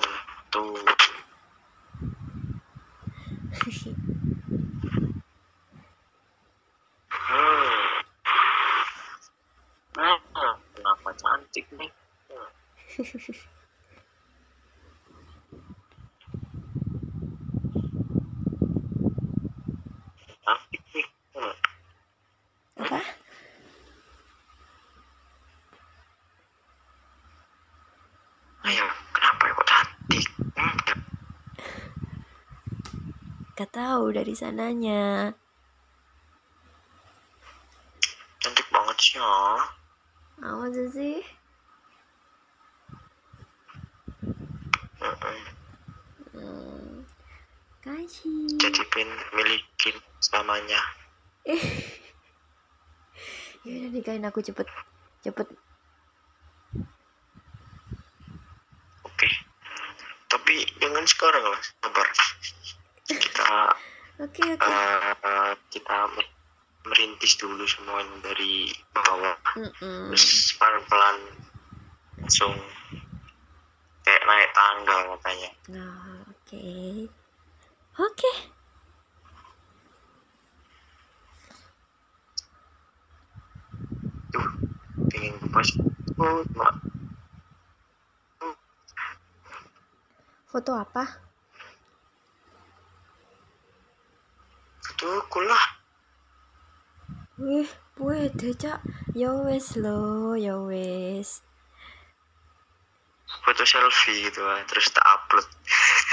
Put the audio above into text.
gitu hmm. Nah, kenapa cantik nih cantik nih Hmm. Apa? ayo kenapa ya kok cantik Hmm, Gak tahu dari sananya. cantik banget sih ya Apa sih? Mm-mm. Hmm. Kasih. jadi pin milikin selamanya Ya udah nikahin aku cepet. Cepet. oke tapi jangan sekarang lah sabar eh, kita Oke, oke. eh, kita mer- merintis dulu semuanya dari bawah Mm-mm. terus pelan-pelan langsung kayak naik tangga katanya Nah, oke. Oke. tuh pengen kupas oh cuma Foto apa? tuh kulah Wih, wih, deh, Cak. Ya wes lo, ya wes. foto selfie gitu lah. terus tak upload